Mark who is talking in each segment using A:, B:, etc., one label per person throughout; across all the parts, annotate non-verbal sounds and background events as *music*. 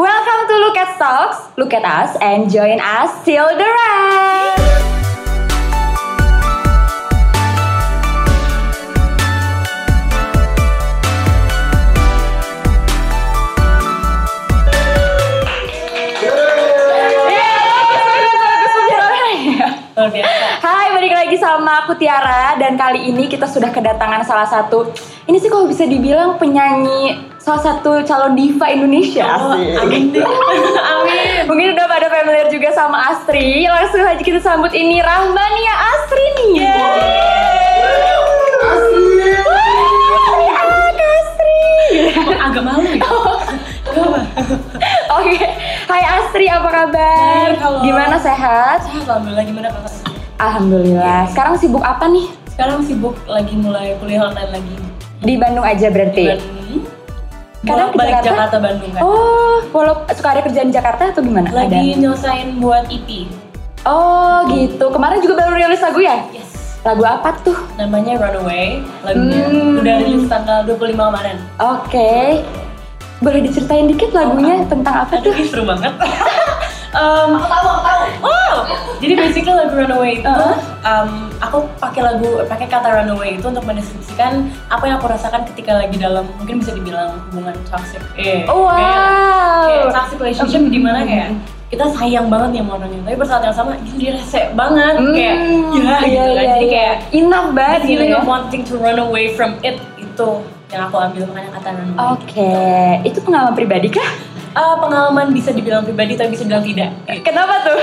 A: Welcome to Look at Talks. Look at us and join us till the rest.
B: Luar biasa.
A: Hai, balik lagi sama aku Tiara dan kali ini kita sudah kedatangan salah satu ini sih kalau bisa dibilang penyanyi salah satu calon diva Indonesia.
B: Oh,
A: Asik.
B: amin deh. amin.
A: Mungkin udah pada familiar juga sama Astri. Langsung aja kita sambut ini Rahmania Astri nih. Astri. Ada Astri. *laughs*
B: Kok agak malu ya. Kenapa?
A: Oke. Hai Astri, apa kabar?
B: Baik, halo.
A: Gimana sehat?
B: Sehat alhamdulillah gimana kakak?
A: Alhamdulillah. Sekarang sibuk apa nih?
B: Sekarang sibuk lagi mulai kuliah online lagi.
A: Di Bandung aja berarti.
B: Dan
A: Iya. Kadang
B: Kadang balik
A: ke Jakarta?
B: Jakarta Bandung kan.
A: Oh, walau suka ada kerjaan di Jakarta atau gimana?
B: lagi
A: Ada.
B: nyelesain buat EP.
A: Oh, gitu. Kemarin juga baru rilis lagu ya?
B: Yes.
A: Lagu apa tuh?
B: Namanya Runaway. Lagunya
A: Hmm.
B: udah rilis tanggal 25 kemarin.
A: Oke. Boleh diceritain dikit lagunya tentang apa
B: Aduh,
A: tuh?
B: ini seru
A: *laughs*
B: banget. um, aku tahu, aku tahu. Wow. Jadi basically lagu Runaway itu,
A: Uh-huh.
B: um, aku pakai lagu, pakai kata Runaway itu untuk mendeskripsikan apa yang aku rasakan ketika lagi dalam, mungkin bisa dibilang hubungan toxic. Eh,
A: Oh,
B: kayak- Kayak
A: wow.
B: toxic relationship
A: Mm.
B: di mana kayak kita sayang banget nih sama orangnya, tapi pada saat yang sama gila, dia rese banget
A: Hmm,
B: kayak ya gitu
A: iya,
B: kan.
A: iya,
B: Jadi
A: iya.
B: kayak
A: enough
B: the
A: banget gitu
B: feeling
A: ya.
B: of wanting to run away from it itu yang aku ambil makanya kata runaway.
A: Oke, itu pengalaman pribadi kah?
B: Ah, pengalaman bisa dibilang pribadi tapi bisa dibilang tidak. Gitu.
A: Kenapa tuh?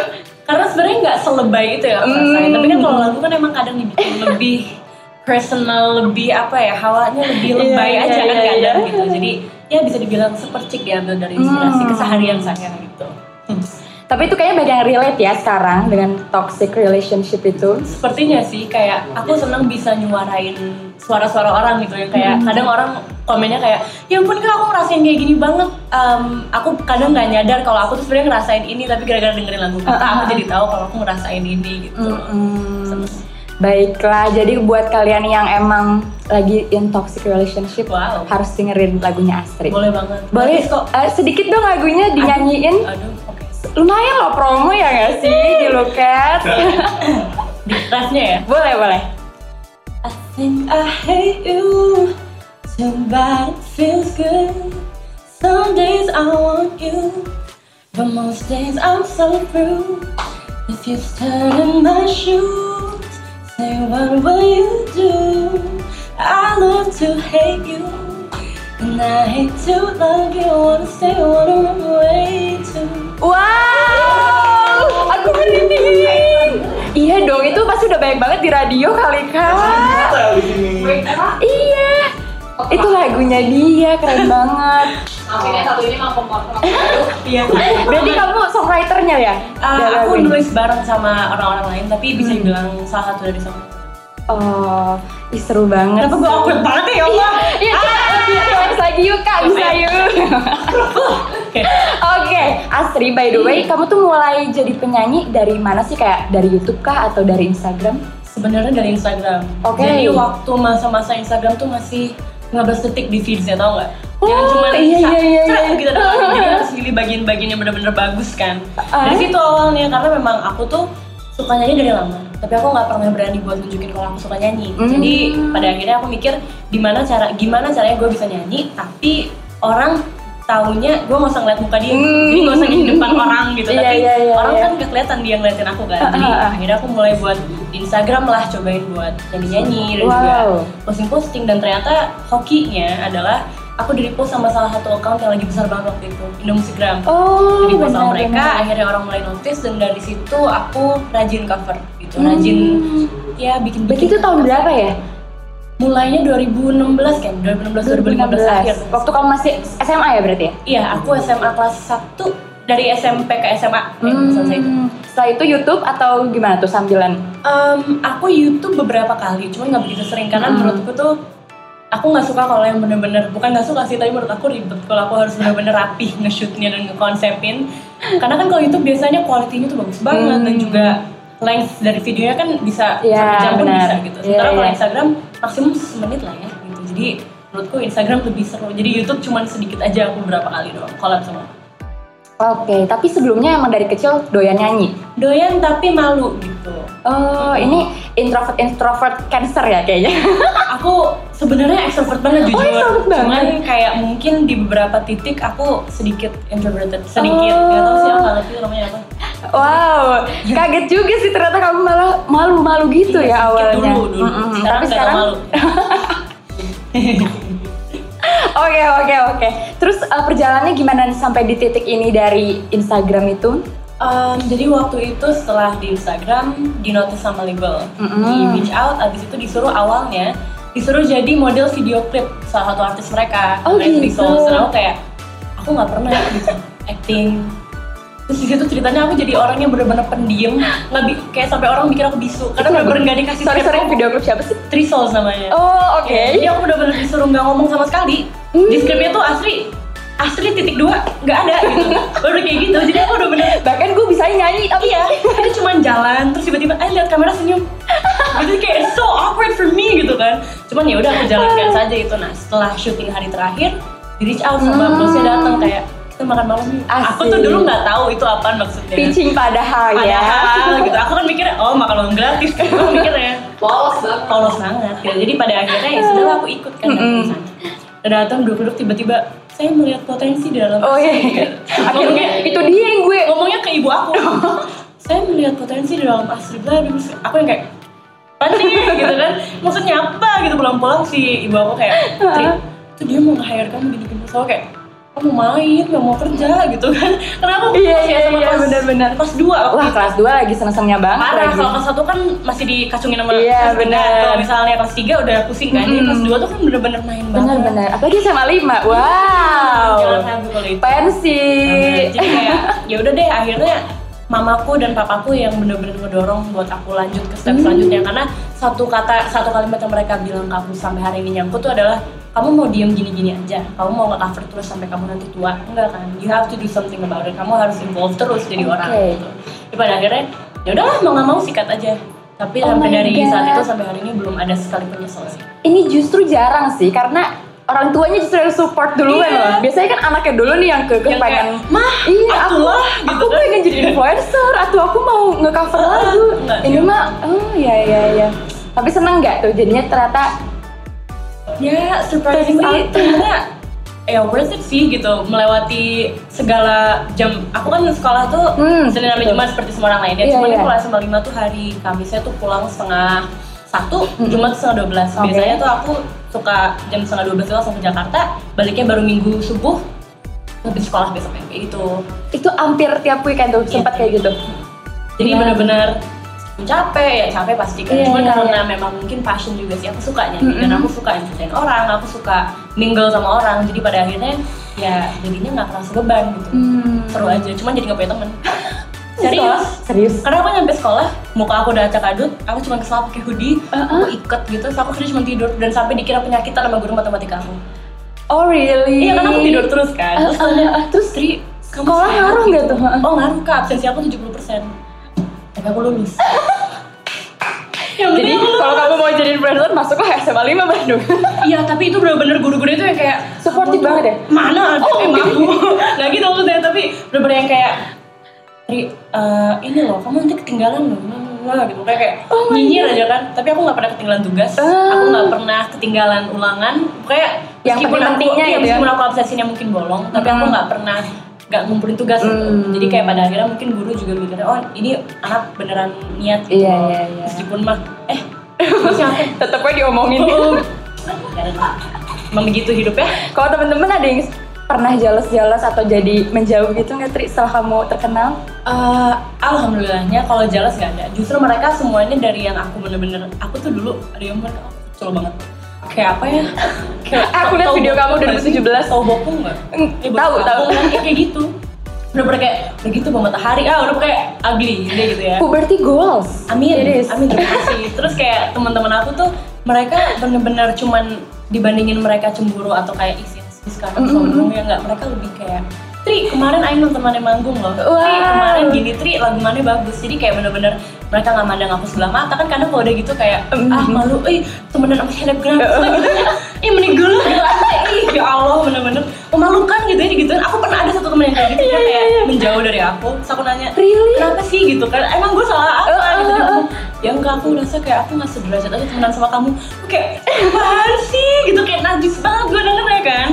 B: karena sebenarnya nggak selebay itu ya aku
A: Hmm.
B: rasain. tapi kan kalau lagu kan emang kadang
A: *laughs*
B: dibikin lebih personal lebih apa ya hawanya lebih
A: Iya,
B: lebay
A: iya,
B: aja kan
A: iya,
B: kadang
A: iya.
B: gitu jadi ya bisa dibilang sepercik diambil dari inspirasi
A: Hmm.
B: keseharian saya gitu
A: Tapi itu kayaknya banyak yang relate ya sekarang dengan toxic relationship itu.
B: sepertinya sih kayak aku senang bisa nyuarain suara-suara orang gitu yang
A: Hmm.
B: kayak kadang orang komennya kayak ya ampun kak aku ngerasain kayak gini banget Em, aku kadang nggak nyadar kalau aku tuh sebenarnya ngerasain ini tapi gara-gara dengerin lagu
A: Ah,
B: kita
A: ah,
B: aku
A: ah. Hmm,
B: jadi tahu kalau aku ngerasain ini gitu
A: Mm-mm. Baiklah, jadi buat kalian yang emang lagi in toxic relationship
B: Wow.
A: harus dengerin lagunya Astrid.
B: boleh banget
A: hmm. Boleh
B: Bagus kok
A: eh, sedikit dong lagunya dinyanyiin.
B: Aduh, oke.
A: Lumayan loh promo ya nggak sih di
B: *laughs*
A: Loket?
B: Di refnya ya.
A: boleh, boleh.
B: I think I hate you, too bad it feels good. Some days I want you, but most days I'm so through. If you stood in my shoes, say what will you do? I love to hate you, and I hate to love you. Wanna stay, wanna run away too.
A: Wow, aku merinding. Iya dong, itu pasti udah banyak banget di radio kali kak.
C: Apa ya di sini?
A: Iya, itu lagunya dia keren banget.
D: Akhirnya satu ini mampu kontrol.
B: Iya.
A: Berarti kamu songwriternya ya?
B: Uh,
A: Dalam
B: aku
A: ini.
B: nulis bareng sama orang-orang lain, tapi bisa
A: Hmm.
B: dibilang salah satu dari sama.
A: Oh, ih, seru banget.
B: Kenapa gue awkward banget ya Allah?
A: Iya, Kak, lebih luas lagi yuk kak, bisa yuk.
B: Oke.
A: Oke, Astri, by the way, kamu tuh mulai jadi penyanyi dari mana sih? Kayak dari YouTube kah atau dari Instagram?
B: Sebenarnya dari Instagram.
A: Oke.
B: Jadi waktu masa-masa Instagram tuh masih 15 detik di feeds ya tau nggak? Yang
A: Oh,
B: cuma
A: iya, iya, iya, iya.
B: Kita doang.
A: *laughs*
B: gitu, Jadi harus pilih bagian-bagian yang bener-bener bagus kan.
A: Ah.
B: Dari situ awalnya karena memang aku tuh suka nyanyi dari lama. Tapi aku nggak pernah berani buat nunjukin kalau aku suka nyanyi.
A: Hmm.
B: Jadi pada akhirnya aku mikir gimana cara gimana caranya gue bisa nyanyi tapi orang taunya gue nggak usah ngeliat muka dia gitu.
A: Hmm.
B: jadi gak usah di depan orang gitu
A: Iya,
B: tapi
A: iya, iya,
B: orang
A: iya.
B: kan gak kelihatan dia ngeliatin aku kan
A: Ah,
B: jadi
A: ah, ah.
B: akhirnya aku mulai buat di Instagram lah cobain buat nyanyi nyanyi dan juga
A: Wow.
B: posting posting dan ternyata hokinya adalah aku di repost sama salah satu account yang lagi besar banget waktu itu Indomusikgram
A: Oh,
B: di post sama
A: benar,
B: mereka
A: benar.
B: akhirnya orang mulai notice dan dari situ aku rajin cover gitu rajin ya bikin
A: Hmm. Berarti itu tahun berapa ya?
B: mulainya 2016 kan 2016 2015 akhir
A: Waktu kamu masih SMA ya berarti ya?
B: iya aku SMA kelas 1 dari SMP ke SMA eh, selesai itu
A: Hmm, Setelah itu YouTube atau gimana tuh sambilan?
B: Em, aku YouTube beberapa kali, cuman nggak begitu sering karena
A: Hmm.
B: menurutku tuh aku nggak suka kalau yang bener-bener bukan nggak suka sih, tapi menurut aku ribet kalau aku harus bener-bener rapih *laughs* nge-shootnya dan ngekonsepin. Karena kan kalau YouTube biasanya kualitinya tuh bagus banget
A: Hmm.
B: dan juga length dari videonya kan bisa
A: Iya,
B: satu jam pun
A: benar.
B: bisa gitu.
A: Iya,
B: Sementara kalau
A: iya.
B: Instagram maksimum semenit lah ya. Gitu. Jadi menurutku Instagram lebih seru. Jadi YouTube cuman sedikit aja aku beberapa kali doang collab sama.
A: Oke, tapi sebelumnya emang dari kecil doyan nyanyi.
B: Doyan tapi malu gitu.
A: Oh, ini introvert introvert cancer ya kayaknya. *laughs*
B: Aku sebenarnya extrovert
A: Oh,
B: banget jujur.
A: extrovert banget.
B: Cuman kayak mungkin di beberapa titik aku sedikit introverted, sedikit.
A: Oh.
B: Gak tau sih apa ngerti namanya apa.
A: wow, kaget juga sih ternyata kamu malah malu-malu gitu
B: Iya,
A: ya
B: sedikit
A: awalnya.
B: Dulu dulu.
A: Mm-mm,
B: Sekarang
A: tapi
B: udah
A: sekarang
B: gak malu.
A: Oke, oke, oke. Terus eh, perjalanannya gimana nih sampai di titik ini dari Instagram itu?
B: Em, jadi waktu itu setelah di Instagram di notice sama label
A: Mm-mm.
B: di reach out abis itu disuruh awalnya disuruh jadi model video klip salah satu artis mereka
A: Oh,
B: Mereka di
A: gitu.
B: Seoul. Terus aku kayak aku nggak pernah gitu acting terus di situ ceritanya aku jadi orang yang bener-bener pendiam nggak bi- kayak sampai orang mikir aku bisu karena bener-bener nggak dikasih
A: Sorry, sorry,
B: script. Iya.
A: video klip siapa sih?
B: Trisol namanya
A: Oh, oke.
B: Jadi aku bener-bener disuruh nggak ngomong sama sekali.
A: Hmm.
B: Di skripnya tuh Asri, Asri titik dua nggak ada gitu. Baru kayak gitu. Jadi aku udah bener.
A: Bahkan gue bisa nyanyi, oh, tapi
B: Iya, kita cuman jalan terus tiba-tiba, eh lihat kamera senyum. Itu kayak it's so awkward for me gitu kan. Cuman ya udah aku
A: Ah.
B: jalankan saja itu. Nah setelah syuting hari terakhir, di reach out sama
A: Hmm.
B: produsernya datang kayak kita makan malam yuk. Aku tuh
A: Asik.
B: dulu nggak tahu itu apaan maksudnya.
A: pitching padahal,
B: Padahal
A: ya.
B: gitu, aku kan mikirnya, oh makan malam gratis, kan aku mikirnya
D: Polos banget.
B: polos banget gitu. jadi pada akhirnya ya sudah aku ikut kan datang ke sana Dan datang duduk duduk tiba-tiba saya melihat potensi di dalam
A: Oh iya.
B: Asri.
A: Akhirnya
B: ngomongnya
A: itu dia yang gue.
B: ngomongnya ke ibu
A: *laughs*
B: aku saya melihat potensi di dalam Asri bla bla, bla. aku yang kayak panci gitu kan maksudnya apa gitu pulang-pulang si ibu aku kayak Tri itu dia mau nge-hire kamu gini-gini so kayak kamu main gak mau kerja gitu kan kenapa aku
A: Iya,
B: masih
A: iya,
B: SMA
A: iya,
B: kelas-
A: benar-benar.
B: kelas dua aku
A: Wah, kelas 2 lagi seneng-senengnya banget
B: parah
A: lagi.
B: kalau kelas satu kan masih dikacungin sama
A: Iya,
B: kelas tiga.
A: bener.
B: kalau misalnya kelas tiga udah pusing kan jadi
A: Mm-mm.
B: kelas dua tuh kan bener-bener main banget
A: Benar-benar. Apalagi sama 5. Wow.
B: Iya.
A: Eh,
B: jangan ragu kalau itu
A: Pensi.
B: Bener. jadi kayak ya udah deh akhirnya mamaku dan papaku yang bener-bener ngedorong buat aku lanjut ke
A: Hmm.
B: step selanjutnya karena satu kata satu kalimat yang mereka bilang ke aku sampai hari ini nyangkut tuh adalah kamu mau diem gini-gini aja kamu mau nggak cover terus sampai kamu nanti tua enggak kan you have to do something about it kamu harus involve terus jadi
A: Oke.
B: orang gitu Tapi pada akhirnya ya udahlah mau nggak mau sikat aja tapi
A: Oh
B: sampai
A: my
B: dari
A: God.
B: saat itu sampai hari ini belum ada sekalipun nyesel sih
A: Ini justru jarang sih karena orang tuanya justru yang support duluan
B: Iya.
A: loh. Biasanya kan anaknya dulu nih yang kekeh
B: Yang
A: pengen
B: kayak, "Mah,
A: iya
B: aku
A: aku
B: lah," gitu
A: aku
B: kan.
A: pengen jadi influencer atau aku mau ngecover lagu.
B: enggak,
A: Ini
B: iya.
A: mah oh iya iya iya. Tapi seneng nggak tuh jadinya ternyata
B: ya
A: Turns
B: surprisingly
A: out.
B: ternyata ya worth it sih gitu melewati segala jam aku kan sekolah tuh
A: Hmm,
B: senin sampai
A: betul.
B: jumat seperti semua orang lainnya
A: Iya,
B: cuman
A: iya.
B: aku kelas SMA lima tuh hari kamisnya tuh pulang setengah satu jumat tuh setengah dua belas
A: Hmm. Oke.
B: biasanya tuh aku suka jam setengah dua belas tuh langsung ke Jakarta baliknya baru minggu subuh habis sekolah besoknya kayak gitu
A: itu hampir tiap weekend tuh sempat
B: Iya.
A: kayak gitu.
B: jadi
A: Gimana?
B: benar-benar capek ya capek pasti kan
A: Iya,
B: cuman
A: iya,
B: karena memang mungkin passion juga sih aku suka nyanyi dan
A: Mm-mm.
B: aku suka entertain orang aku suka mingle sama orang jadi pada akhirnya ya jadinya nggak kerasa beban gitu
A: Hmm.
B: seru aja cuman jadi nggak punya
A: *laughs*
B: temen serius
A: Serius.
B: karena aku nyampe sekolah muka aku udah acak adut aku cuma kesel pakai hoodie
A: Uh-uh.
B: aku iket gitu terus aku kerja cuma tidur dan sampai dikira penyakitan sama guru matematika aku
A: Oh really?
B: iya karena aku tidur terus kan
A: Ah,
B: terus tanya,
A: ah, ah, terus
B: Tri kamu
A: sekolah
B: sehat?"
A: ngaruh nggak
B: gitu.
A: tuh? Ah.
B: oh ngaruh kak absensi aku 70% tapi aku lulus yang
A: Jadi kalau kamu mau jadi influencer masuklah SMA 5 Bandung. *laughs*
B: Iya, tapi itu bener-bener guru-guru itu yang kayak
A: Supportive
B: kamu tuh
A: banget ya? iya.
B: Mana ada yang aku? *laughs* Gak gitu maksudnya, tapi bener-bener yang kayak Ri, eh, ini loh, kamu nanti ketinggalan loh Wah, gitu kayak, kayak
A: Oh my
B: nyinyir
A: God.
B: aja kan tapi aku nggak pernah ketinggalan tugas
A: Ah.
B: aku nggak pernah ketinggalan ulangan kayak
A: Yang penting-pentingnya
B: aku, iya,
A: gitu ya.
B: meskipun aku absensinya mungkin bolong tapi aku
A: Hmm.
B: nggak pernah nggak ngumpulin tugas gitu.
A: Hmm.
B: jadi kayak pada akhirnya mungkin guru juga mikirnya oh ini anak beneran niat gitu
A: Iya,
B: loh."
A: iya, iya.
B: meskipun mah eh siapa
A: Tetep aja diomongin.
B: Oh. Emang begitu hidup ya?
A: *laughs* Kalau temen-temen ada yang pernah jealous-jealous atau jadi menjauh gitu nggak Tri setelah kamu terkenal?
B: Eh, alhamdulillahnya kalau jelas gak ada. Justru mereka semuanya dari yang aku bener-bener aku tuh dulu ada yang mereka aku kecil banget. Kayak apa
A: *laughs*
B: ya? Kayak
A: Eh, aku lihat
B: tau
A: video kamu
B: bokong nggak sih?
A: 2017.
B: Tau bokong nggak?
A: Eng,
B: Eh,
A: tahu,
B: bokong
A: tahu.
B: kan, kayak gitu. Udah pernah kayak kayak gitu bawa matahari. Ah, udah kayak ugly deh gitu ya.
A: *laughs* Puberty goals.
B: Amin,
A: It is.
B: amin
A: *laughs*
B: terima kasih. Terus kayak teman-teman aku tuh mereka bener-bener cuman dibandingin mereka cemburu atau kayak isi sekarang sombong ya nggak mereka lebih kayak Tri kemarin Ainul temannya manggung loh. Tri
A: Wow.
B: kemarin gini Tri lagu mana bagus. Jadi kayak bener-bener mereka nggak mandang aku sebelah mata kan kadang kalau udah gitu kayak
A: Mm.
B: ah malu eh temenan sama
A: *laughs*
B: selebgram terus kayak gitu eh mending dulu gitu Kayak, ih ya Allah bener-bener memalukan gitu ya digituin aku pernah ada satu temen yang kayak gitu dia kayak menjauh dari aku terus aku nanya
A: Iya, Really?
B: kenapa sih gitu kan emang gue salah apa
A: Eh,
B: gitu
A: eh,
B: dia
A: eh.
B: ngomong, ya enggak aku rasa kayak aku nggak sederajat aja temenan sama kamu Aku kayak apaan sih gitu kayak najis banget gue dengernya kan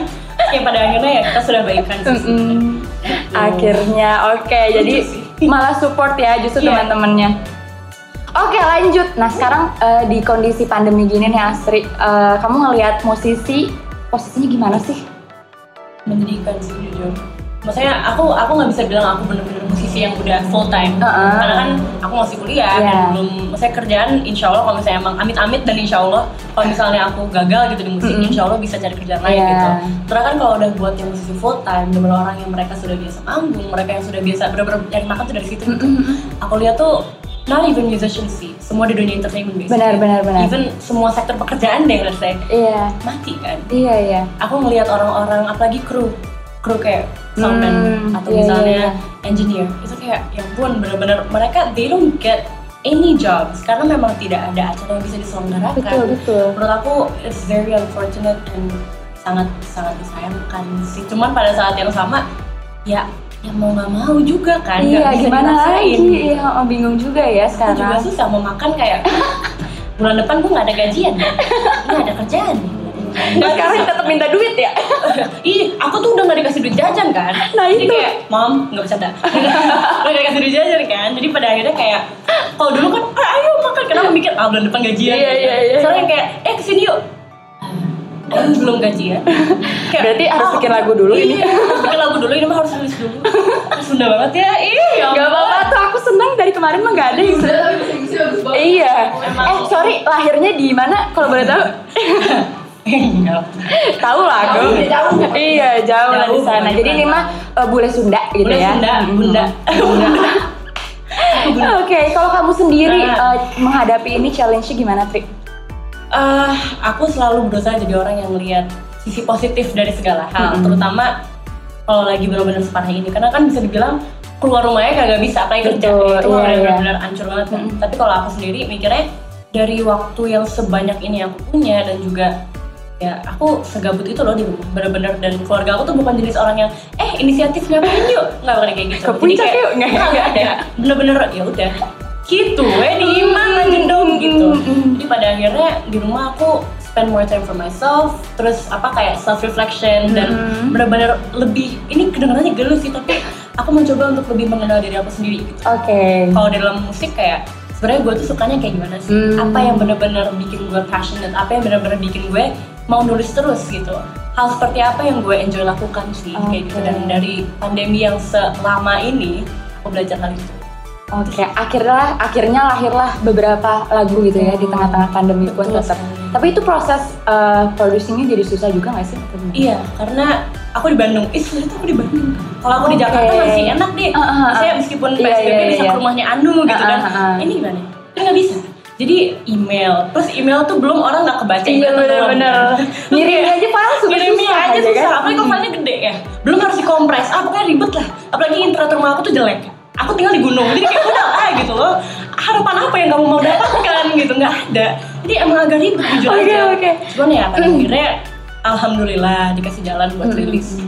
B: ya pada akhirnya ya kita sudah baikan sih
A: Mm-mm. *laughs* Akhirnya oke jadi *laughs* malah support ya justru
B: Iya.
A: teman-temannya. Oke lanjut. Nah sekarang eh, di kondisi pandemi gini nih Astri, eh, kamu ngelihat musisi posisinya gimana sih?
B: menyedihkan sih jujur maksudnya aku aku nggak bisa bilang aku bener-bener musisi yang udah full time
A: Heeh.
B: karena kan aku masih kuliah dan
A: Iya.
B: belum maksudnya kerjaan insya Allah kalau misalnya emang amit-amit dan insya Allah kalau misalnya aku gagal gitu di musik
A: Mm-mm.
B: insya Allah bisa cari kerjaan lain
A: Iya.
B: gitu karena kan kalau udah buat yang musisi full time bener orang yang mereka sudah biasa manggung mereka yang sudah biasa bener-bener cari makan tuh dari situ gitu aku lihat tuh not even musician sih semua di dunia entertainment basically.
A: Benar, benar, benar.
B: even semua sektor pekerjaan deh rasanya
A: Iya
B: mati kan
A: iya iya.
B: aku ngelihat orang-orang apalagi kru kru kayak soundman
A: Hmm,
B: atau
A: iya,
B: misalnya
A: iya, iya.
B: engineer itu kayak ya ampun bener-bener mereka they don't get any jobs karena memang tidak ada acara yang bisa diselenggarakan
A: Betul, betul.
B: menurut aku it's very unfortunate and sangat sangat disayangkan sih cuman pada saat yang sama ya yang mau nggak mau juga kan nggak
A: Iya
B: bisa
A: gimana
B: dipaksain. gitu.
A: lagi? Iya oh, bingung juga ya
B: aku juga
A: sekarang.
B: susah mau makan
A: *laughs*
B: kayak bulan depan gue nggak ada gajian ya nggak ada kerjaan
A: Nah, sekarang
B: Iya.
A: tetap minta duit ya?
B: Ih, aku tuh udah gak dikasih duit jajan kan
A: Nah,
B: Jadi
A: itu.
B: kayak, mom, gak bercanda *laughs* Gak dikasih duit jajan kan Jadi pada akhirnya kayak Kalau dulu kan, "Ah, ayo makan Karena aku mikir, ah bulan depan gajian
A: Iya, iya, iya.
B: Sekarang kayak, eh kesini yuk Ah, Ayo belum
A: *laughs*
B: gajian Kayak,
A: Berarti harus
B: "Ah,
A: bikin lagu dulu ini."
B: Iya, harus bikin lagu dulu Ini mah harus nulis dulu Sunda banget ya Ih, *laughs* ya
A: Gak
B: ampun.
A: apa-apa tuh aku senang dari kemarin mah gak ada yang
D: Udah tapi bisa bisa bagus banget.
A: Iya.
B: Emang.
A: Eh sorry lahirnya di mana kalau boleh tahu?
B: Iya.
A: tahu lah aku.
D: Jauh, jauh.
A: Iya jauh lah di
B: Jauh,
A: sana.
B: bukan
A: Jadi ini
B: Jakarta.
A: mah eh, bule Sunda gitu
B: Bunda,
A: ya.
B: Sunda,
A: Mm.
B: Bunda *laughs* Bunda
A: Oke, kalau kamu sendiri
B: Nah.
A: eh, menghadapi ini challenge-nya gimana, Tri?
B: Eh, aku selalu berusaha jadi orang yang melihat sisi positif dari segala hal,
A: Mm-mm.
B: terutama kalau lagi benar-benar separah ini. Karena kan bisa dibilang keluar rumahnya kagak bisa, apalagi kerja
A: Betul,
B: itu
A: iya, iya.
B: benar-benar hancur banget. kan.
A: Mm-mm.
B: Tapi kalau aku sendiri mikirnya dari waktu yang sebanyak ini aku punya dan juga ya aku segabut itu loh di rumah benar-benar dan keluarga aku tuh bukan jenis orang yang eh inisiatif ngapain yuk nggak pernah kayak gitu
A: Ke
B: Jadi
A: puncak
B: kayak,
A: yuk. Nggak,
B: *laughs* nggak,
A: nggak
B: ada bener-bener ya udah gitu eh
A: Hmm.
B: diiman aja dong gitu jadi pada akhirnya di rumah aku spend more time for myself terus apa kayak self reflection dan
A: Mhm.
B: benar-benar lebih ini kedengarannya gelut sih tapi aku mencoba untuk lebih mengenal diri aku sendiri gitu
A: Oke.
B: kalau di dalam musik kayak sebenarnya gue tuh sukanya kayak gimana sih
A: Hmm.
B: apa yang benar-benar bikin gue passionate apa yang benar-benar bikin gue mau nulis terus gitu hal seperti apa yang gue enjoy lakukan sih kayak gitu
A: Oke.
B: dan dari pandemi yang selama ini aku belajar hal itu
A: Oke, akhirnya akhirnya lahirlah beberapa lagu gitu ya di tengah-tengah pandemi pun
B: Betul
A: tetap.
B: sekali.
A: Tapi itu proses eh, producing-nya jadi susah juga nggak sih? Atau gimana?
B: Iya, karena aku di Bandung. Eh, sebenarnya tuh aku di Bandung. Kalau aku
A: Oh,
B: di
A: Oke.
B: Jakarta masih enak nih.
A: Ah, ah, ah.
B: Saya meskipun
A: Iya,
B: PSBB
A: iya,
B: bisa
A: iya.
B: ke rumahnya Anu gitu
A: Ah,
B: kan.
A: ah, ah.
B: Ini gimana? Ini nggak bisa. Jadi email, terus email tuh belum orang nggak kebaca.
A: Iya
B: nggak ketahuan.
A: bener-bener.
B: Terus
A: Ngirimnya
B: kayak-
A: aja palsu,
B: Ngirimnya
A: susah
B: aja
A: aja
B: susah.
A: kan?
B: Apalagi kalau filenya gede ya. Belum harus dikompres. Ah, pokoknya ribet lah. Apalagi interatur rumah aku tuh jelek. Aku tinggal di gunung, jadi kayak udah lah gitu loh. Harapan apa yang kamu mau dapatkan gitu nggak ada. Jadi emang agak ribet jujur
A: Oke,
B: aja.
A: oke.
B: Cuman ya pada akhirnya alhamdulillah dikasih jalan buat
A: Hmm.
B: rilis.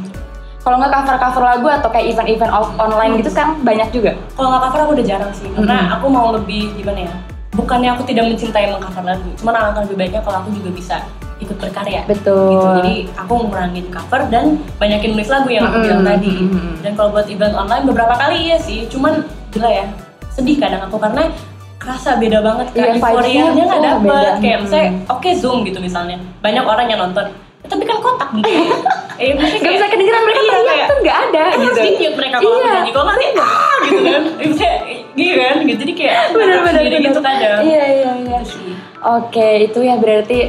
A: Kalau nggak cover-cover lagu atau kayak event-event off- online gitu sekarang banyak juga.
B: Kalau nggak cover aku udah jarang sih, karena
A: Hmm.
B: aku mau lebih gimana ya? Bukannya aku tidak mencintai mengcover lagu, cuman alangkah lebih baiknya kalau aku juga bisa ikut berkarya.
A: Betul.
B: Gitu. Jadi aku ngurangin cover dan banyakin nulis lagu yang aku
A: Mm-mm.
B: bilang tadi.
A: Mm-mm.
B: Dan kalau buat event online beberapa kali iya sih, cuman gila ya sedih kadang aku karena kerasa beda banget
A: Iya,
B: kan
A: vibes-nya
B: euforianya nggak
A: tuh
B: dapet
A: beda.
B: kayak misalnya
A: Mm.
B: oke zoom gitu misalnya banyak orang yang nonton tapi kan kotak
A: *laughs*
B: gitu eh, maksudnya
A: Gak
B: kayak-
A: bisa kedengeran mereka
B: *laughs* Iya,
A: teriak
B: kayak-
A: tuh nggak ada
B: kan
A: gitu.
B: harus di-mute mereka kalau
A: Iya.
B: aku nyanyi kalau nggak sih "Ah," gitu
A: *laughs*
B: kan Maksudnya, gitu kan gitu jadi kayak
A: Bener-bener
B: sendiri gitu kadang
A: Iya iya iya. Oke itu ya berarti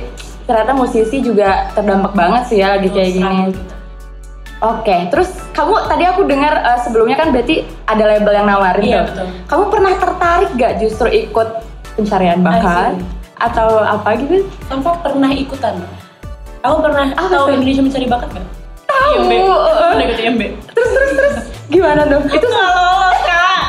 A: ternyata musisi juga terdampak banget sih ya lagi kayak gini.
B: Terus, gitu.
A: Oke, terus kamu tadi aku dengar eh, sebelumnya kan berarti ada label yang nawarin
B: Iya,
A: tuh.
B: betul.
A: Kamu pernah tertarik gak justru ikut pencarian bakat
B: I see.
A: atau apa gitu?
B: Tanpa pernah ikutan aku pernah
A: Apa
B: tahu
A: tuh?
B: Indonesia mencari bakat nggak
A: Tahu,
B: IMB
A: uh-uh.
B: udah ikut ya, IMB
A: Terus terus terus gimana tuh? Itu *laughs*
B: nggak lolos kak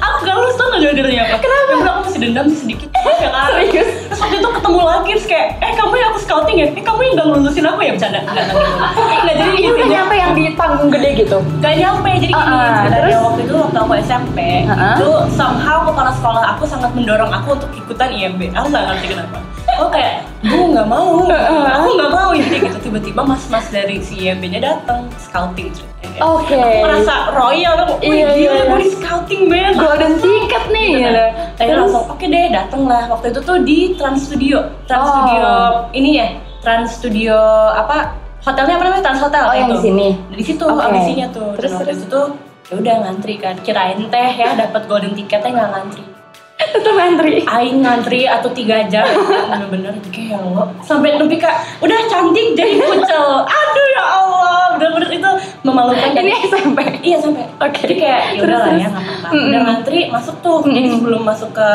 B: aku gak lulus tuh nggak gara-garanya apa
A: Kenapa? Eh,
B: dendam nih sedikit ya kan
A: Serius?
B: terus waktu itu ketemu lagi terus kayak eh kamu yang aku scouting ya eh kamu yang gak ngelulusin aku ya bercanda nggak
A: *laughs*
B: nggak gitu nggak jadi
A: Ini udah
B: intinya
A: nyampe yang di panggung gede gitu.
B: Gak nyampe jadi gini
A: Ah, ah,
B: sebenarnya
A: terus?
B: waktu itu waktu aku SMP
A: Ah, ah.
B: itu somehow kepala sekolah aku sangat mendorong aku untuk ikutan IMB aku nggak ngerti kenapa aku kayak gue nggak
A: *laughs*
B: mau
A: Uh-uh.
B: aku nggak mau ini gitu tiba-tiba mas-mas dari si IMB-nya datang scouting Kayak,
A: Oke.
B: aku merasa royal aku wih
A: Iya,
B: gila
A: iya.
B: gue di scouting banget
A: Golden ticket nih.
B: Gitu
A: gitu.
B: kan. Akhirnya
A: Terus? *laughs*
B: langsung oke deh dateng lah waktu itu tuh di Trans Studio Trans
A: Oh.
B: Studio ini ya Trans Studio apa hotelnya apa namanya Trans Hotel
A: Oh, yang
B: itu.
A: di sini?
B: di situ
A: Oke.
B: audisinya tuh
A: Terus,
B: terus waktu
A: terus?
B: itu tuh ya udah ngantri kan kirain teh ya dapat golden ticketnya nggak ngantri
A: Tetep antri.
B: Aing ngantri atau tiga jam bener-bener kayak lo sampai lebih kak udah cantik jadi kucel aduh ya Allah bener-bener itu memalukan
A: Ini SMP.
B: Iya sampai.
A: Oke.
B: Jadi kayak ya
A: Terus,
B: udah lah
A: terus.
B: ya nggak apa-apa.
A: Mm-mm.
B: Udah ngantri masuk tuh. Jadi
A: Mm-mm.
B: sebelum masuk ke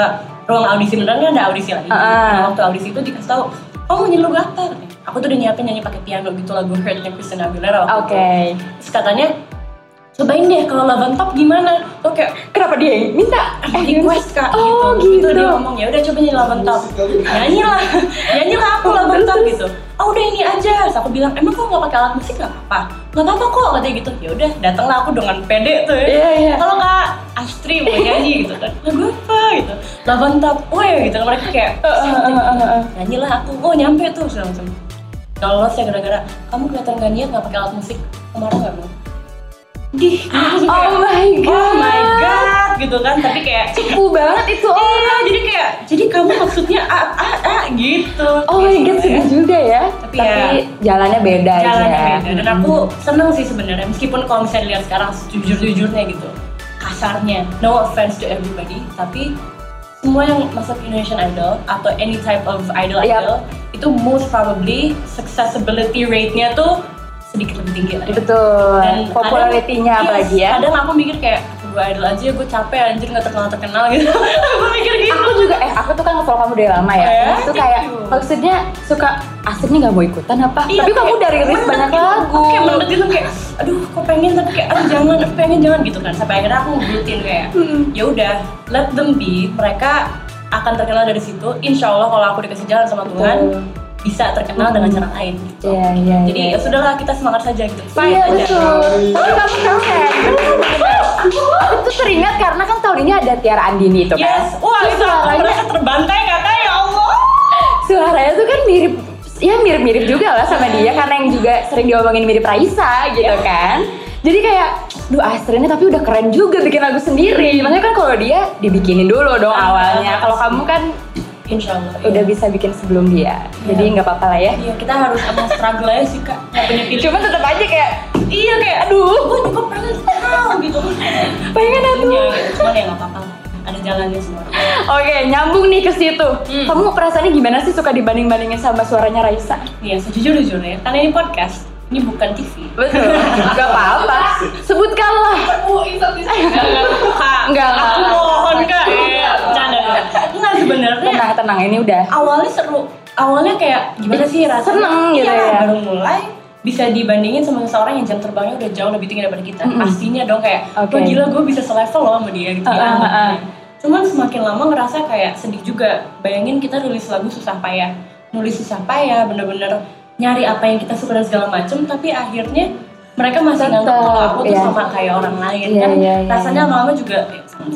B: ruang audisi beneran kan ada audisi lagi.
A: Ah.
B: Nah, waktu audisi itu dikasih tahu, kamu mau nyelur apa? Aku tuh udah nyiapin nyanyi pakai piano gitu lagu Hurtnya Christina Aguilera. waktu
A: Oke.
B: itu. Terus katanya cobain deh kalau lawan top gimana? Tuh kayak
A: Kenapa dia yang minta?
B: eh, request kak
A: iya. Oh
B: gitu.
A: gitu.
B: Itu dia ngomong ya udah coba nyanyi lawan top. Nyanyi lah, nyanyi lah aku lawan top gitu. Oh udah ini aja. Terus aku bilang emang kok nggak pakai alat musik nggak apa-apa? Nggak apa-apa kok katanya gitu. Ya udah datanglah aku dengan pede tuh. ya.
A: Iya, iya.
B: Kalau nggak Astri mau nyanyi gitu kan. Lagu apa gitu? Lawan top. Weh gitu mereka kayak
A: Eh,
B: nyanyi lah aku. Oh nyampe tuh segala macam. Nggak lolos ya gara-gara kamu kelihatan gak niat nggak pakai alat musik kemarin nggak bang? Dih, langsung kayak,
A: Oh my
B: Oh my
A: God.
B: god, gitu kan. Tapi kayak
A: Cukup banget itu orang.
B: Iya, jadi kayak jadi kamu maksudnya ah ah ah gitu.
A: Oh my god,
B: Gitu ya.
A: sedih juga ya.
B: Tapi
A: Tapi,
B: ya,
A: jalannya beda
B: Jalannya
A: ya.
B: beda dan aku seneng sih sebenarnya meskipun kalau misalnya dilihat sekarang jujur-jujurnya gitu kasarnya no offense to everybody tapi semua yang masuk Indonesian Idol atau any type of idol
A: Yap.
B: idol itu most probably successability rate-nya tuh sedikit lebih tinggi lah ya
A: Betul.
B: dan
A: Popularitinya
B: kadang-
A: apalagi
B: yes,
A: ya.
B: kadang aku mikir kayak gue idol aja gue capek anjir nggak terkenal terkenal gitu *laughs* aku mikir gitu
A: Aku juga, eh aku tuh kan ngefollow kamu dari lama ya.
B: Eh,
A: Terus tuh
B: thank
A: kayak
B: you.
A: maksudnya suka asiknya nggak mau ikutan apa?
B: Iya,
A: Tapi kamu
B: kayak
A: dari rilis
B: mendek
A: banyak
B: gitu.
A: lagu.
B: kayak mendek gitu kayak aduh kok pengen tapi kayak aduh jangan aduh pengen jangan gitu kan sampai akhirnya aku ngebutin kayak
A: Hmm.
B: ya udah let them be mereka akan terkenal dari situ insya Allah kalau aku dikasih jalan sama Tuhan
A: Betul.
B: bisa terkenal dengan cara lain gitu
A: Iya, iya,
B: jadi
A: iya.
B: ya sudahlah kita semangat saja gitu
A: Iya
B: aja.
A: betul. Tapi kamu keren. Aku tuh teringat karena kan tahun ini ada Tiara Andini itu kan.
B: yes wah
A: Terus
B: itu aku
A: suaranya,
B: merasa terbantai kakak ya Allah
A: suaranya tuh kan mirip ya mirip-mirip juga lah sama dia karena yang juga sering diomongin mirip Raisa gitu
B: Iya.
A: kan. Jadi kayak, duh Astrid ini tapi udah keren juga bikin lagu sendiri. Makanya kan kalau dia dibikinin dulu dong
B: Ah,
A: awalnya. Kalau kamu kan
B: insya Allah iya.
A: udah bisa bikin sebelum dia. Jadi nggak apa-apa lah ya.
B: Iya kita harus emang struggle aja sih kak Gak punya pilihan
A: Cuma tetap aja kayak
B: Iya kayak aduh gue juga pengen terkenal gitu
A: pengen aku.
B: Iya, cuman ya nggak apa-apa lah. ada jalannya semua
A: Oke, nyambung nih ke situ.
B: Hmm.
A: Kamu perasaannya gimana sih suka dibanding-bandingin sama suaranya Raisa?
B: Iya sejujur-jujurnya karena ini podcast ini bukan TV
A: *laughs* Betul. Gak apa-apa. Sebutkanlah.
D: Oh, insert insert.
B: Kak,
A: Enggak, enggak.
B: aku mohon kak Eh, bercanda bercanda. Enggak sebenarnya
A: Tenang, tenang. Ini udah.
B: awalnya seru awalnya kayak gimana sih
A: Iya.
B: rasanya
A: Seneng gitu
B: Iya,
A: ya.
B: baru mulai bisa dibandingin sama seseorang yang jam terbangnya udah jauh lebih tinggi daripada kita pastinya dong kayak
A: Oke.
B: wah gila gue bisa selevel loh sama dia gitu
A: Ah,
B: ya
A: ah, ah, ah.
B: cuman semakin lama ngerasa kayak sedih juga bayangin kita nulis lagu susah payah nulis susah payah bener-bener nyari apa yang kita suka dan segala macem tapi akhirnya mereka masih
A: Tetep,
B: nganggap kalau aku tuh
A: iya.
B: sama kayak orang lain
A: Iya,
B: kan
A: iya, iya,
B: rasanya
A: iya.
B: lama-lama juga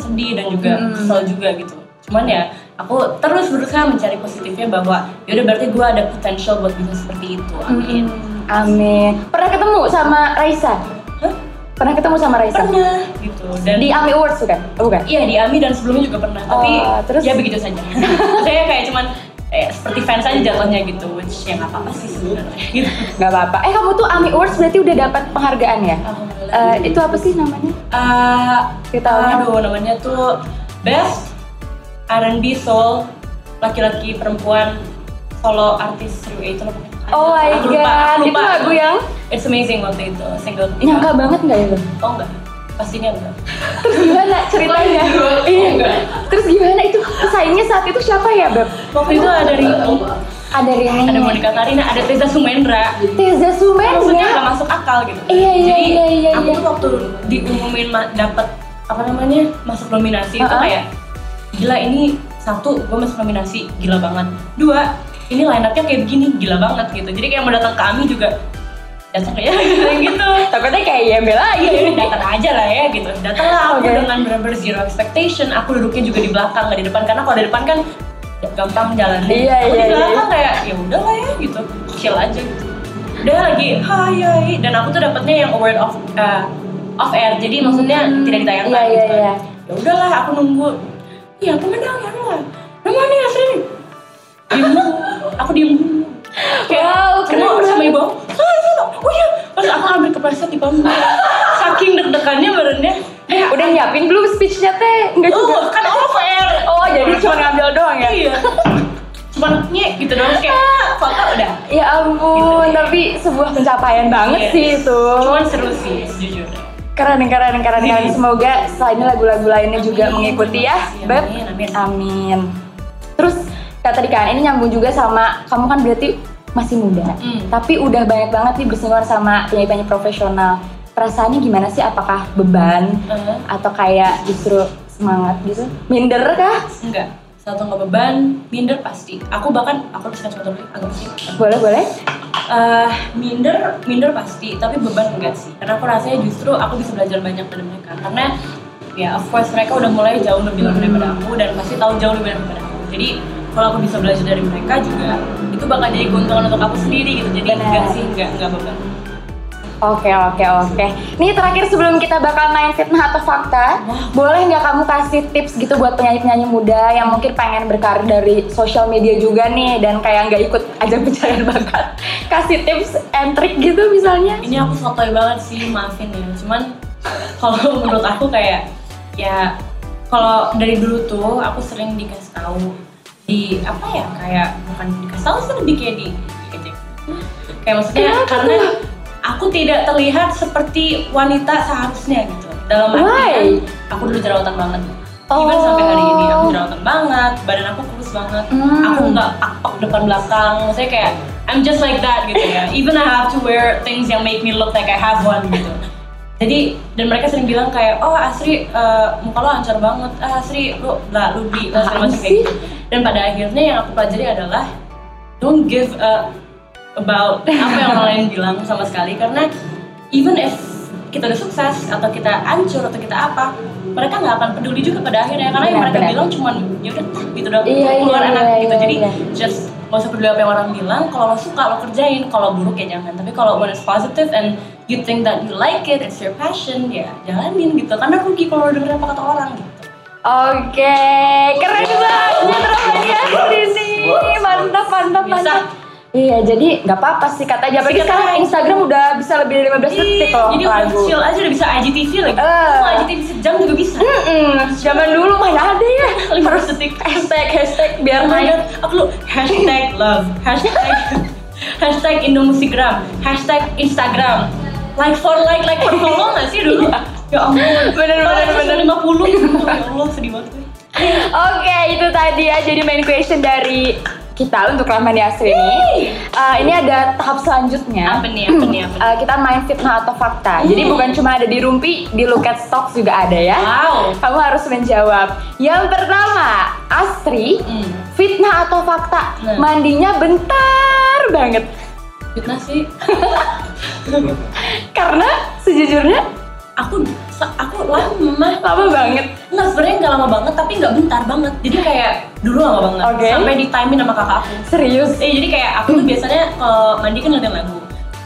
B: sedih dan juga
A: Hmm.
B: kesel juga gitu cuman ya aku terus berusaha mencari positifnya bahwa yaudah berarti gue ada potential buat bisa seperti itu amin
A: Mm-mm. Amin. Pernah ketemu sama Raisa?
B: Hah?
A: Pernah ketemu sama Raisa?
B: pernah gitu dan
A: Di AMI Awards bukan? Oh, bukan.
B: iya di Ami dan sebelumnya juga pernah tapi
A: Oh, terus?
B: ya begitu saja *laughs* saya kayak cuman eh, seperti fans aja jatuhnya gitu which ya nggak apa-apa sih sebenarnya gitu
A: Gak apa-apa. Eh kamu tuh AMI Awards berarti udah dapat penghargaan ya?
B: Alhamdulillah.
A: Eh, itu apa sih namanya?
B: Eh,
A: Kita
B: aduh namanya tuh best R&B soul laki-laki perempuan solo artis through itu loh pokoknya.
A: Oh my
B: Aku lupa,
A: God,
B: aku
A: itu
B: lupa.
A: lagu yang-
B: It's amazing waktu itu single ketiga.
A: Nyangka banget nggak ya
B: *laughs*
A: lo?
B: Oh enggak, pastinya enggak.
A: Terus gimana ceritanya?
B: gitu?
D: Enggak.
A: iya. Terus gimana itu pesaingnya saat itu siapa ya, Beb?
B: Waktu itu ada Ricky,
A: Ada Rihanna.
B: ada Monica Karina, ada Teza Sumendra.
A: Teza
B: Maksudnya nggak
A: Sumendra.
B: masuk akal gitu.
A: Iya, iya,
B: Jadi
A: iya, iya,
B: aku
A: iya.
B: tuh waktu diumumin ma- dapat apa namanya masuk nominasi itu
A: Uh-uh.
B: kayak gila ini satu gue masuk nominasi gila banget dua ini line up-nya kayak begini gila banget gitu jadi kayak mau datang ke AMI juga datang ya *laughs* gitu, gitu.
A: Takutnya kayak YMB lagi.
B: Iya, datang aja lah ya gitu. Datanglah aku
A: Oke.
B: dengan benar-benar zero expectation. Aku duduknya juga di belakang, nggak di depan karena kalau di depan kan gampang jalan.
A: Iya,
B: aku
A: iya,
B: Di
A: iya.
B: belakang kayak ya udah lah ya gitu, chill aja gitu. Udah lagi hai hai dan aku tuh dapatnya yang award of uh, off air. Jadi maksudnya
A: Hmm,
B: tidak ditayangkan
A: iya, iya,
B: gitu. kan.
A: iya.
B: Ya udahlah, aku nunggu. Iya, pemenang ya lah. Nama nih Asri. Diem dulu. aku diem dulu.
A: Wow, keren
B: Semua sama
A: banget.
B: ibu aku, "Sana, sana." oh iya pas aku ambil kepleset di bangku saking deg-degannya badannya eh
A: Udah nyiapin belum speech-nya teh? Enggak
B: oh
A: juga.
B: kan off air
A: Oh, jadi cuma ngambil doang ya?
B: iya cuma nyek gitu doang kayak foto udah
A: Ya ampun, tapi sebuah pencapaian banget
B: Iya.
A: sih itu.
B: cuman seru sih jujur
A: Keren, keren, keren, keren. Semoga selain ini lagu-lagu lainnya juga
B: Amin.
A: mengikuti ya,
B: Terima kasih.
A: Beb.
B: Amin, amin.
A: Amin. Terus kata tadi kan ini nyambung juga sama kamu kan berarti masih muda,
B: Hmm.
A: tapi udah banyak banget nih bersinggungan sama penyanyi-penyanyi profesional. Perasaannya gimana sih? Apakah beban
B: Eh,
A: atau kayak justru semangat gitu? Minder kah?
B: enggak satu nggak beban minder pasti aku bahkan aku bisa contoh dulu, agak sih
A: Boleh, boleh.
B: Eh, minder minder pasti tapi beban enggak sih karena aku rasanya justru aku bisa belajar banyak dari mereka karena ya of course mereka udah mulai jauh lebih lama daripada aku dan pasti tahu jauh lebih banyak daripada aku jadi kalau aku bisa belajar dari mereka juga itu bakal jadi keuntungan untuk aku sendiri gitu jadi
A: Benar.
B: enggak sih enggak enggak beban
A: Oke oke oke. Nih terakhir sebelum kita bakal main fitnah atau fakta,
B: Wah.
A: boleh nggak kamu kasih tips gitu buat penyanyi-penyanyi muda yang mungkin pengen berkarir dari sosial media juga nih dan kayak nggak ikut ajang pencarian bakat? Kasih tips and trick gitu misalnya?
B: ini aku sotoy banget sih maafin ya cuman kalau *laughs* menurut aku kayak ya kalau dari dulu tuh aku sering dikasih tahu di apa ya kayak bukan dikasih tahu sih lebih kayak di kayak, kayak maksudnya
A: Kenapa
B: karena
A: tuh?
B: aku tidak terlihat seperti wanita seharusnya gitu dalam
A: Why?
B: artian aku dulu jerawatan banget Even
A: Oh.
B: sampai hari ini aku jerawatan banget, badan aku kurus banget,
A: Hmm.
B: aku nggak akpak depan belakang, maksudnya kayak I'm just like that gitu ya.
A: *laughs*
B: Even I have to wear things yang make me look like I have one gitu. Jadi dan mereka sering bilang kayak, oh Asri eh, muka lo ancur banget, ah, Asri lo bla lu di lo segala macam
A: Apaan
B: kayak
A: sih?
B: gitu. Dan pada akhirnya yang aku pelajari adalah don't give a about apa yang orang lain bilang sama sekali karena even if kita udah sukses atau kita hancur atau kita apa mereka nggak akan peduli juga pada akhirnya karena yang
A: Benar,
B: mereka
A: Iya, benar.
B: bilang cuman ya udah tah, gitu dong
A: Iya, iya,
B: keluar
A: iya,
B: enak gitu
A: iya,
B: jadi
A: iya.
B: just gak usah peduli apa yang orang bilang kalau lo suka lo kerjain kalau buruk ya jangan tapi kalau when it's positive and you think that you like it it's your passion ya jalanin gitu karena rugi kalau lo dengerin apa kata orang gitu
A: Oke, keren
B: Iya.
A: banget rasanya di sini. Mantap, mantap,
B: Bisa.
A: mantap. Iya, jadi nggak apa-apa sih kata aja. Apalagi
B: Sikat aja.
A: sekarang Instagram udah bisa lebih dari 15 detik
B: Ih,
A: loh
B: jadi udah
A: lagu.
B: chill aja udah bisa IGTV lagi
A: Eh.
B: mau IGTV sejam juga bisa
A: Mm-mm, zaman dulu mana ada ya
B: Lima
A: harus
B: detik.
A: hashtag hashtag biar
B: Oh my
A: naik
B: God, aku lu hashtag love, hashtag *laughs* hashtag Indomusikgram, hashtag Instagram, like for like, like for
A: *laughs*
B: follow nggak sih dulu? ya ampun,
A: Iya. Bener, bener, bener.
B: lima puluh, ya Allah sedih banget. gue.
A: Oke, itu tadi ya jadi main question dari kita untuk Rahman Yasri ini. Eh, ini ada tahap selanjutnya.
B: Apa nih, apa nih, apa nih?
A: Eh, kita main fitnah atau fakta. Jadi
B: Hmm.
A: bukan cuma ada di Rumpi, di Look at Stocks juga ada ya.
B: Wow.
A: Kamu harus menjawab. Yang pertama, Astri,
B: Hmm,
A: fitnah atau fakta?
B: Nah.
A: Mandinya bentar banget.
B: fitnah sih.
A: Karena sejujurnya
B: Aku sa- aku lama
A: lama banget.
B: Nggak, sebenarnya nggak lama banget, tapi nggak bentar banget. Jadi kayak dulu lama banget,
A: Oke.
B: sampai di timing sama kakak aku.
A: Serius.
B: Eh jadi kayak aku tuh biasanya kalau mandi kan dengerin lagu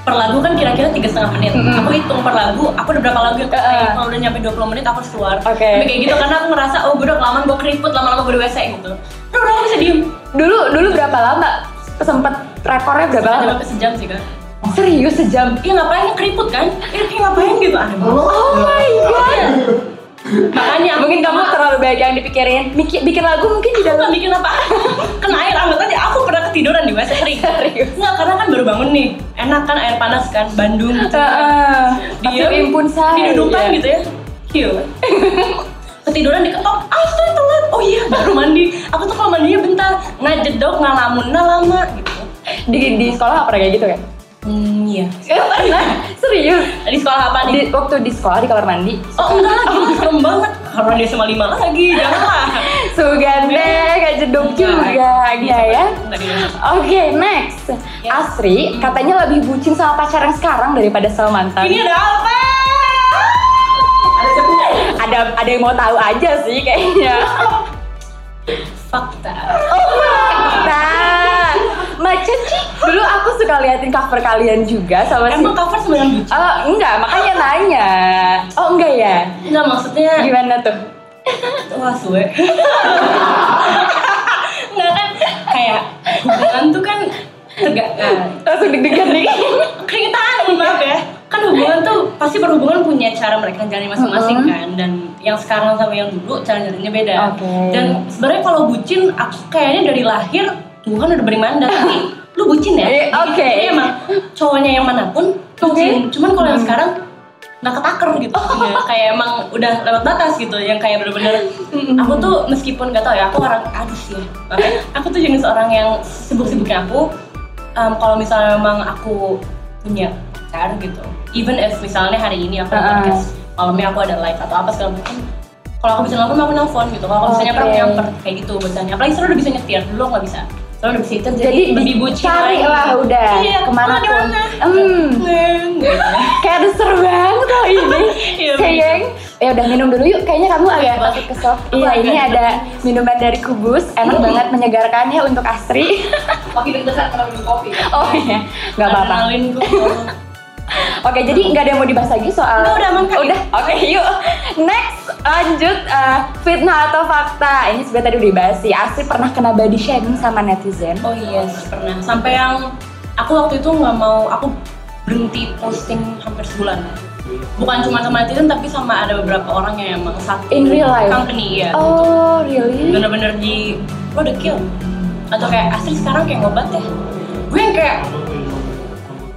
B: per lagu kan kira-kira tiga setengah menit
A: Mm-mm.
B: aku hitung per lagu aku udah berapa lagu yang aku
A: Uh-uh.
B: play. kalau udah nyampe 20 menit aku harus keluar
A: Oke.
B: Tapi kayak gitu karena aku ngerasa oh gue udah kelamaan gue keriput lama-lama gue di WC gitu terus udah aku bisa diem
A: Dulu dulu berapa lama? Sempet rekornya berapa
B: udah
A: lama?
B: sampai sejam sih kan
A: Serius sejam.
B: iya ngapain yang keriput kan iya kayak ngapain gitu aneh banget
A: Oh my
B: Iya.
A: god.
B: makanya aku
A: Mungkin kamu terlalu banyak yang dipikirin. Bikin, bikin lagu mungkin di
B: aku
A: dalam.
B: gak bikin apa kena air anget aja aku pernah ketiduran di WC kering
A: Serius?
B: nggak karena kan baru bangun nih enak kan air panas kan Bandung gitu
A: Heeh.
B: Diem,
A: Tapi impun saya. iya.
B: didudukan gitu ya Hiu Ketiduran diketok Astaga telat Oh iya baru mandi Aku tuh kalau mandinya bentar Nggak jedok, nggak lamun, nggak lama gitu
A: Di, di sekolah nggak pernah kayak gitu
B: *laughs*
A: kan?
B: Hmm iya
A: Pernah. Serius.
B: Tadi sekolah apa
A: Di,
B: nih?
A: waktu di sekolah di kamar mandi
B: Oh enggak lagi, serem banget Karena dia sama lima lagi, janganlah
A: Suganda gak jeduk juga
B: Iya,
A: gitu ya.
B: Tadi.
A: Oke, next.
B: Yes.
A: Asri katanya lebih bucin sama pacar yang sekarang daripada sama mantan.
B: Ini ada apa?
D: Ada sepuluh.
A: ada ada yang mau tahu aja sih kayaknya.
B: *laughs* Fakta.
A: Nah, Mbak Cici, dulu aku suka liatin cover kalian juga sama si
B: Emang cover sebenarnya lucu?
A: Oh, enggak, makanya nanya. Oh, enggak ya?
B: Enggak maksudnya
A: Gimana tuh?
B: Wah suwe *laughs* Nggak kan Kayak hubungan tuh kan Tegak nah,
A: Langsung deg-degan nih.
B: Keringetan mohon maaf ya Kan hubungan tuh Pasti perhubungan punya cara mereka jalani masing-masing
A: Mhm.
B: kan Dan yang sekarang sama yang dulu Cara jalannya beda
A: Oke.
B: Dan sebenarnya kalau bucin Aku kayaknya dari lahir Tuhan udah beri mandat Tapi lu bucin ya
A: Eh, oke.
B: Jadi emang cowoknya yang manapun Bucin Cuman kalau yang sekarang nggak ketaker
A: *laughs*
B: gitu Iya, kayak emang udah lewat batas gitu yang kayak bener-bener aku tuh meskipun gak tau ya aku orang aduh sih aku tuh jenis orang yang sibuk-sibuknya aku em, Um, kalau misalnya memang aku punya pacar gitu even if misalnya hari ini aku
A: Uh-uh.
B: podcast malamnya aku ada live atau apa segala macam kalau aku bisa nelfon aku nelfon gitu kalau aku bisa nyamper aku
A: Oke.
B: nyamper kayak gitu bacanya apalagi sekarang udah bisa nyetir dulu aku nggak bisa sekarang udah bisa nyetir jadi,
A: Jadi
B: lebih bucin
A: cari
B: lagi.
A: lah udah,
B: iya,
A: kemana
B: di
A: pun.
B: mana?
A: Hmm.
B: Neng, gitu.
A: Kayak ada seru banget loh ini.
B: *laughs* Iya,
A: *laughs* Sayang. Ya udah minum dulu yuk. Kayaknya kamu agak
B: Boleh.
A: takut kesel.
B: Aku
A: Iya,
B: agak
A: ini
B: minum.
A: ada minuman dari Kubus. Enak
B: Iya.
A: banget menyegarkan ya untuk
B: *laughs*
A: Astri.
D: Makin deg-degan kalau minum kopi.
A: Oh iya, nggak apa-apa.
B: Adrenalin gua.
A: Oke, jadi nggak ada yang mau dibahas lagi soal.
B: Udah, udah aman kan?
A: Udah, oke yuk. Next, lanjut eh, fitnah atau fakta. Ini sebenarnya tadi udah dibahas sih. Asri pernah kena body shaming sama netizen.
B: Oh iya sih, pernah. Sampai yang aku waktu itu nggak mau aku berhenti posting hampir sebulan. Bukan cuma sama netizen tapi sama ada beberapa orang yang emang satu
A: In real life?
B: company ya.
A: Oh, really?
B: Bener-bener di lo udah kill atau kayak Astrid sekarang kayak ngobat ya. Gue yang kayak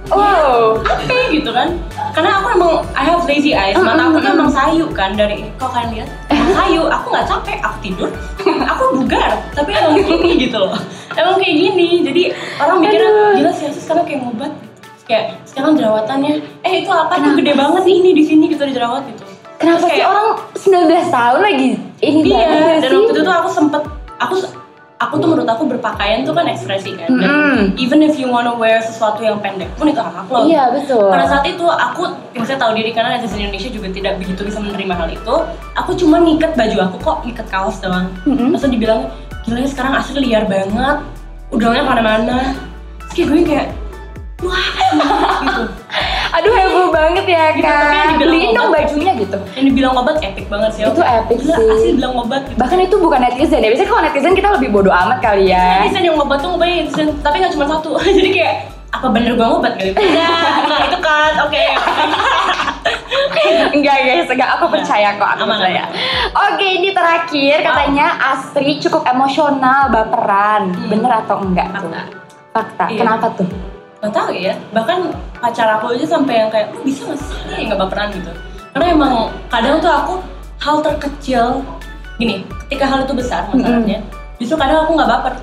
A: Wow.
B: apa ya gitu kan? Karena aku emang I have lazy eyes, mata aku tuh emang sayu kan dari kalau kalian lihat emang sayu. Aku nggak capek, aku tidur, *laughs* aku bugar, tapi emang gini gitu loh. Emang kayak gini, jadi orang mikirnya
A: Aduh.
B: gila sih Asus sekarang kayak ngobat. Kayak sekarang jerawatannya, eh itu apa tuh gede banget nih ini di sini gitu di jerawat gitu.
A: Kenapa
B: Terus
A: sih
B: kayak-
A: orang 19 tahun lagi ini banget
B: Iya,
A: nggak
B: dan
A: sih?
B: waktu itu tuh aku sempet aku aku tuh menurut aku berpakaian tuh kan ekspresi kan. Dan
A: Mm-mm.
B: even if you wanna wear sesuatu yang pendek pun itu hak aku loh.
A: Iya, betul.
B: Pada saat itu aku ya maksudnya tahu diri karena netizen Indonesia juga tidak begitu bisa menerima hal itu. Aku cuma ngikat baju aku kok ngikat kaos doang.
A: Mm-mm.
B: Terus dibilang gila ya sekarang asli liar banget, udangnya kemana-mana. Terus kayak gue kayak wah *laughs* gitu.
A: Aduh heboh banget ya
B: Gitu, tapi yang
A: kan.
B: dibilang
A: Beliin dong
B: obat.
A: bajunya gitu.
B: Yang dibilang obat epic banget sih.
A: Itu epic
B: Gila,
A: sih.
B: asli bilang obat gitu.
A: Bahkan itu bukan netizen ya. Biasanya kalau netizen kita lebih bodoh amat kali ya.
B: Netizen Kan yang ngobat tuh ngobatnya netizen, tapi nggak cuma satu. *laughs* Jadi kayak apa bener gua ngobat kali? Nah, nah itu kan, oke.
A: Enggak guys, enggak aku percaya kok, aku
B: Iya. Aman,
A: percaya.
B: aman.
A: Oke, ini terakhir katanya Astri cukup emosional, baperan.
B: Hmm.
A: Bener atau enggak tuh?
B: Fakta.
A: Fakta.
B: Iya.
A: Kenapa tuh?
B: Gak tahu ya, bahkan pacar aku aja sampai yang kayak, lu bisa gak sih dia yang gak baperan gitu Karena emang kadang tuh aku hal terkecil, gini, ketika hal itu besar masalahnya Justru kadang aku gak baper,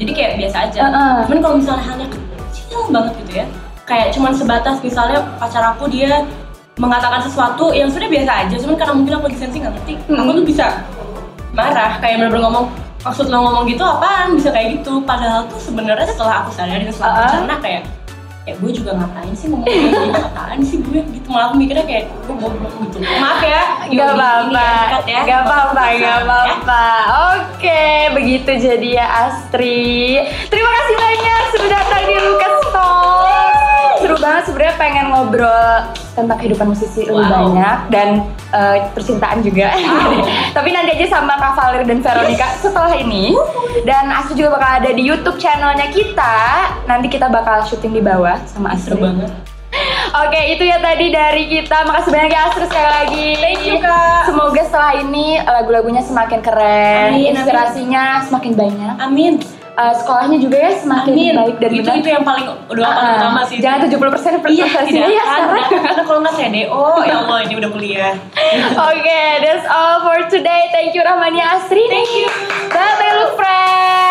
B: jadi kayak biasa aja
A: Heeh.
B: Cuman kalau misalnya halnya kecil banget gitu ya Kayak cuman sebatas misalnya pacar aku dia mengatakan sesuatu yang sudah biasa aja Cuman karena mungkin aku lagi sensi gak ngerti, aku tuh bisa marah kayak bener-bener ngomong maksud lo ngomong gitu apaan bisa kayak gitu padahal tuh sebenarnya setelah aku sadari dan setelah aku
A: Uh-uh.
B: cerna kayak ya gue juga ngapain sih ngomong kayak gitu apaan sih gue gitu malah aku mikirnya kayak gue goblok gitu maaf ya
A: Gak apa-apa, gak apa-apa, gak
B: apa
A: apa-apa. Oke, begitu jadi ya Astri. Terima kasih banyak sudah datang di Lukas Talk. Seru banget sebenarnya pengen ngobrol tentang kehidupan musisi lebih
B: Wow.
A: banyak dan eh, percintaan juga. *laughs* Tapi nanti aja sama Kak Valer dan Veronica setelah ini. Dan Astri juga bakal ada di YouTube channelnya kita. Nanti kita bakal syuting di bawah sama Astri.
B: seru banget
A: Oke, itu ya tadi dari kita. Makasih banyak ya Astrid sekali lagi.
B: Thank you, Kak.
A: Semoga setelah ini eh, lagu-lagunya semakin keren,
B: Amin, amin.
A: inspirasinya semakin banyak,
B: amin
A: Eh, sekolahnya juga ya semakin
B: amin
A: baik dan
B: itu
A: benar.
B: itu yang paling doa paling
A: Ah,
B: utama sih
A: Jangan 70%
B: iya
A: presentasinya
B: tidak
A: ya
B: akan
A: sekarang.
B: tidak akan. kalau nggak CDO ya Allah ini udah kuliah
A: Oke, that's all for today. Thank you Rahmania Astri.
B: Thank you.
A: Bye bye look friends.